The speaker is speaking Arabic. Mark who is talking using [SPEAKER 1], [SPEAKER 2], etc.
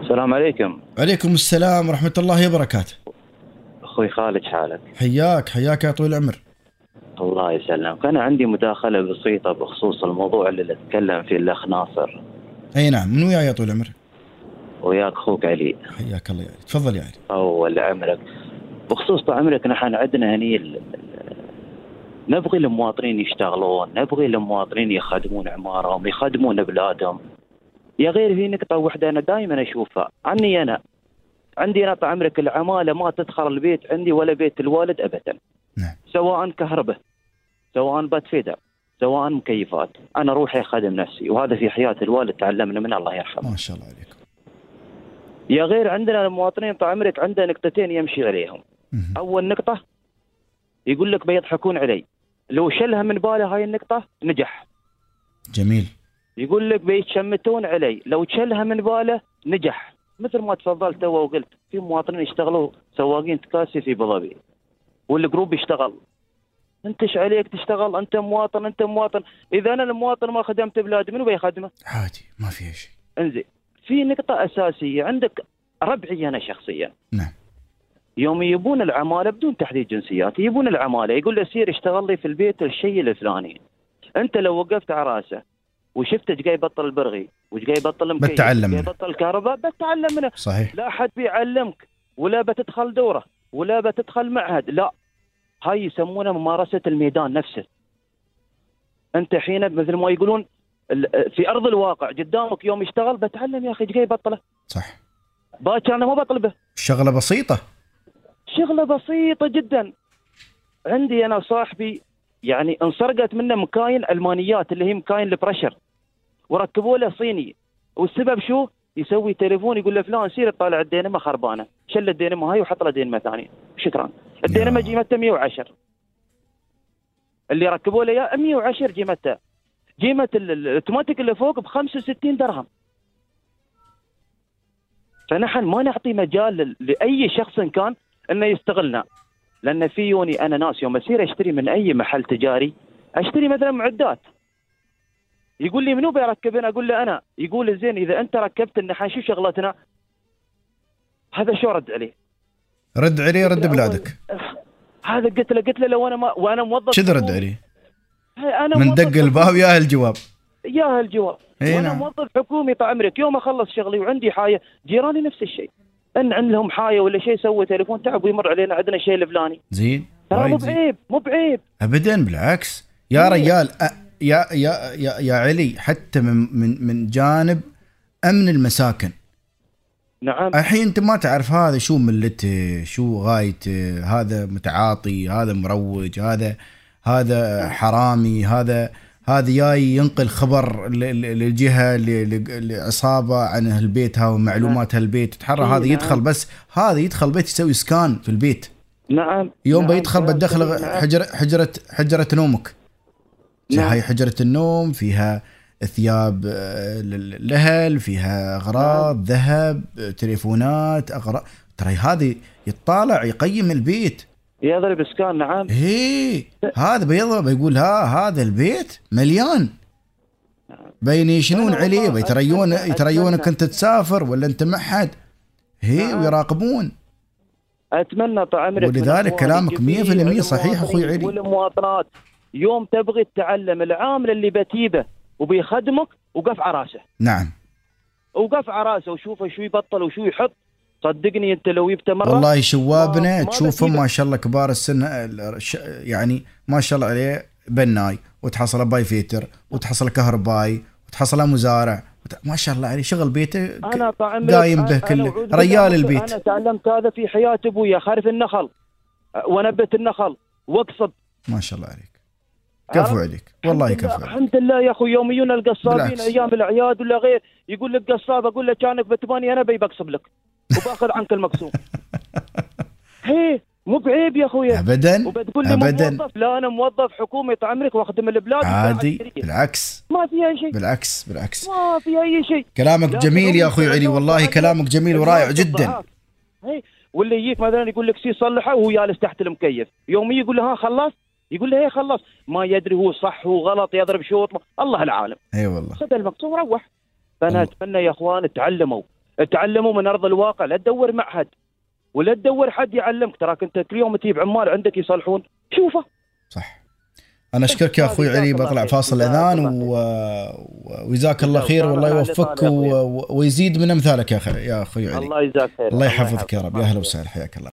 [SPEAKER 1] السلام عليكم
[SPEAKER 2] عليكم السلام ورحمة الله وبركاته
[SPEAKER 1] اخوي خالد شحالك
[SPEAKER 2] حياك حياك يا طويل العمر
[SPEAKER 1] الله يسلمك انا عندي مداخله بسيطه بخصوص الموضوع اللي تكلم فيه الاخ ناصر
[SPEAKER 2] أي نعم من وياي يا طويل العمر
[SPEAKER 1] وياك اخوك علي
[SPEAKER 2] حياك الله يا علي تفضل يا علي
[SPEAKER 1] اول عمرك بخصوص عمرك نحن عندنا هني ال- ال- نبغي المواطنين يشتغلون نبغي المواطنين يخدمون عمارهم يخدمون بلادهم يا غير في نقطة واحدة أنا دائما أشوفها عني أنا عندي أنا عمرك العمالة ما تدخل البيت عندي ولا بيت الوالد أبدا
[SPEAKER 2] نعم.
[SPEAKER 1] سواء كهرباء سواء بات فيدر سواء مكيفات أنا روحي أخدم نفسي وهذا في حياة الوالد تعلمنا من الله يرحمه
[SPEAKER 2] ما شاء الله عليكم
[SPEAKER 1] يا غير عندنا المواطنين طال عمرك عنده نقطتين يمشي عليهم
[SPEAKER 2] مهم.
[SPEAKER 1] اول نقطه يقول لك بيضحكون علي لو شلها من باله هاي النقطه نجح
[SPEAKER 2] جميل
[SPEAKER 1] يقول لك بيتشمتون علي لو تشلها من باله نجح مثل ما تفضلت تو وقلت في مواطنين يشتغلوا سواقين تكاسي في ابو ظبي والجروب يشتغل انت ايش عليك تشتغل انت مواطن انت مواطن اذا انا المواطن ما خدمت بلادي منو بيخدمه
[SPEAKER 2] عادي ما فيها شيء
[SPEAKER 1] انزين في نقطة أساسية عندك ربعي أنا شخصيا
[SPEAKER 2] نعم.
[SPEAKER 1] يوم يبون العمالة بدون تحديد جنسيات يبون العمالة يقول له سير اشتغل لي في البيت الشيء الفلاني أنت لو وقفت على راسه وشفت ايش قاعد يبطل البرغي وايش قاعد يبطل المكيف
[SPEAKER 2] بتعلم
[SPEAKER 1] إيش قاعد
[SPEAKER 2] منه.
[SPEAKER 1] يبطل الكهرباء بتعلم منه
[SPEAKER 2] صحيح
[SPEAKER 1] لا حد بيعلمك ولا بتدخل دورة ولا بتدخل معهد لا هاي يسمونها ممارسة الميدان نفسه أنت حين مثل ما يقولون ال- في أرض الواقع قدامك يوم يشتغل بتعلم يا أخي إيش قاعد يبطله
[SPEAKER 2] صح
[SPEAKER 1] باكر أنا ما بطلبه
[SPEAKER 2] شغلة بسيطة
[SPEAKER 1] شغلة بسيطة جدا عندي أنا صاحبي يعني انسرقت منه مكاين ألمانيات اللي هي مكاين البرشر وركبوا له صيني والسبب شو؟ يسوي تليفون يقول له فلان سير طالع الدينما خربانه، شل الدينما هاي وحط له دينما ثانيه، شكرا. الدينما
[SPEAKER 2] يا.
[SPEAKER 1] جيمته 110. اللي ركبوا له اياه 110 جيمته. جيمه ال- ال- الاوتوماتيك اللي فوق ب 65 درهم. فنحن ما نعطي مجال لل- لاي شخص كان انه يستغلنا. لان في يوني انا ناس يوم اسير اشتري من اي محل تجاري اشتري مثلا معدات يقول لي منو بيركب انا اقول له انا يقول زين اذا انت ركبت النحاس شو شغلتنا هذا شو رد عليه
[SPEAKER 2] رد علي رد بلادك
[SPEAKER 1] هذا قلت له قلت له لو انا ما وانا موظف
[SPEAKER 2] كذا رد
[SPEAKER 1] حكومي.
[SPEAKER 2] علي
[SPEAKER 1] هي انا
[SPEAKER 2] من
[SPEAKER 1] موظف
[SPEAKER 2] دق الباب يا الجواب
[SPEAKER 1] يا هالجواب
[SPEAKER 2] إي
[SPEAKER 1] وانا
[SPEAKER 2] نعم.
[SPEAKER 1] موظف حكومي طال عمرك يوم اخلص شغلي وعندي حايه جيراني نفس الشيء ان عندهم حايه ولا شيء سووا تليفون تعب ويمر علينا عندنا شيء الفلاني
[SPEAKER 2] زين
[SPEAKER 1] ترى مو
[SPEAKER 2] وايد زين.
[SPEAKER 1] بعيب مو بعيب
[SPEAKER 2] ابدا بالعكس يا رجال أ- يا يا يا, يا علي حتى من من من جانب امن المساكن
[SPEAKER 1] نعم
[SPEAKER 2] الحين انت ما تعرف هذا شو ملته شو غايته هذا متعاطي هذا مروج هذا هذا حرامي هذا هذا جاي ينقل خبر ل- ل- للجهه ل- ل- لعصابه عن اهل بيتها ومعلومات اهل البيت تحرى
[SPEAKER 1] إي
[SPEAKER 2] هذا
[SPEAKER 1] نعم.
[SPEAKER 2] يدخل بس هذا يدخل بيت يسوي سكان في البيت
[SPEAKER 1] نعم
[SPEAKER 2] يوم
[SPEAKER 1] نعم.
[SPEAKER 2] بيدخل
[SPEAKER 1] كلام
[SPEAKER 2] بتدخل
[SPEAKER 1] سليم. نعم.
[SPEAKER 2] حجره حجره حجره نومك
[SPEAKER 1] نعم.
[SPEAKER 2] هاي حجره النوم فيها ثياب آه، لل- الاهل فيها
[SPEAKER 1] نعم.
[SPEAKER 2] اغراض ذهب آه، تليفونات اغراض ترى هذه يطالع يقيم البيت
[SPEAKER 1] يضرب اسكان نعم
[SPEAKER 2] هي هذا بيضرب يقول ها هذا البيت مليان بينيشنون
[SPEAKER 1] أنا والله
[SPEAKER 2] عليه بيتريون
[SPEAKER 1] أتمنى-
[SPEAKER 2] يتريونك
[SPEAKER 1] أتمنى.
[SPEAKER 2] انت تسافر ولا انت معهد هي
[SPEAKER 1] نعم.
[SPEAKER 2] ويراقبون
[SPEAKER 1] اتمنى طعمرك
[SPEAKER 2] ولذلك كلامك 100% صحيح أخوي علي.
[SPEAKER 1] والمواطنات يوم تبغي تتعلم العامل اللي بتيبه وبيخدمك وقف على راسه
[SPEAKER 2] نعم
[SPEAKER 1] وقف على راسه وشوفه شو يبطل وشو يحط صدقني انت لو جبته مره
[SPEAKER 2] والله
[SPEAKER 1] ما-
[SPEAKER 2] شوابنا
[SPEAKER 1] ما
[SPEAKER 2] تشوفهم
[SPEAKER 1] بسيبك.
[SPEAKER 2] ما شاء الله كبار السن ال- ش- يعني ما شاء الله عليه بناي وتحصله باي فيتر وتحصله كهربائي وتحصله مزارع وت- ما شاء الله عليه شغل بيته ك-
[SPEAKER 1] انا طعمرك
[SPEAKER 2] دايم به
[SPEAKER 1] أنا-
[SPEAKER 2] كله.
[SPEAKER 1] أنا أعوذ بالله
[SPEAKER 2] ريال
[SPEAKER 1] من-
[SPEAKER 2] البيت.
[SPEAKER 1] انا تعلمت هذا في حياه ابويا خارف النخل أه، ونبت النخل واقصد
[SPEAKER 2] ما شاء الله عليك كفو عليك والله
[SPEAKER 1] الحمد لله-
[SPEAKER 2] يكفو عليك
[SPEAKER 1] الحمد لله يا اخوي يوم يجون القصابين
[SPEAKER 2] بالعكس.
[SPEAKER 1] ايام الاعياد ولا غير يقول لك قصاب اقول له كانك بتباني انا بي بقصب لك وباخذ عنك المقسوم هي مو بعيب يا اخوي
[SPEAKER 2] ابدا
[SPEAKER 1] وبتقول لي مو
[SPEAKER 2] ابدا
[SPEAKER 1] موظف لا انا موظف حكومي طال عمرك واخدم البلاد وساعة
[SPEAKER 2] عادي
[SPEAKER 1] كبيرة.
[SPEAKER 2] بالعكس
[SPEAKER 1] ما في اي شيء
[SPEAKER 2] بالعكس بالعكس
[SPEAKER 1] ما في اي شيء
[SPEAKER 2] كلامك
[SPEAKER 1] لا
[SPEAKER 2] جميل يا
[SPEAKER 1] تقوم
[SPEAKER 2] اخوي علي
[SPEAKER 1] تتعلم
[SPEAKER 2] والله
[SPEAKER 1] وتتعلم.
[SPEAKER 2] كلامك جميل ورائع
[SPEAKER 1] الناس
[SPEAKER 2] جدا
[SPEAKER 1] تضحك. هي واللي يجيك مثلا يقول لك سي صلحه وهو جالس تحت المكيف يوم يجي يقول له ها خلص يقول له ايه خلص ما يدري هو صح هو غلط يضرب شوط الله العالم
[SPEAKER 2] اي والله
[SPEAKER 1] خذ المقصود وروح فانا
[SPEAKER 2] الله.
[SPEAKER 1] اتمنى يا اخوان تعلموا تعلموا من ارض الواقع لا تدور معهد ولا تدور حد يعلمك تراك انت كل يوم تجيب عمال عندك يصلحون شوفه
[SPEAKER 2] صح انا اشكرك يا اخوي علي بطلع فاصل اذان و... وجزاك الله خير والله يوفقك و... ويزيد من امثالك يا اخي يا اخوي علي
[SPEAKER 1] الله يجزاك خير
[SPEAKER 2] الله يحفظك يا رب يا اهلا وسهلا حياك الله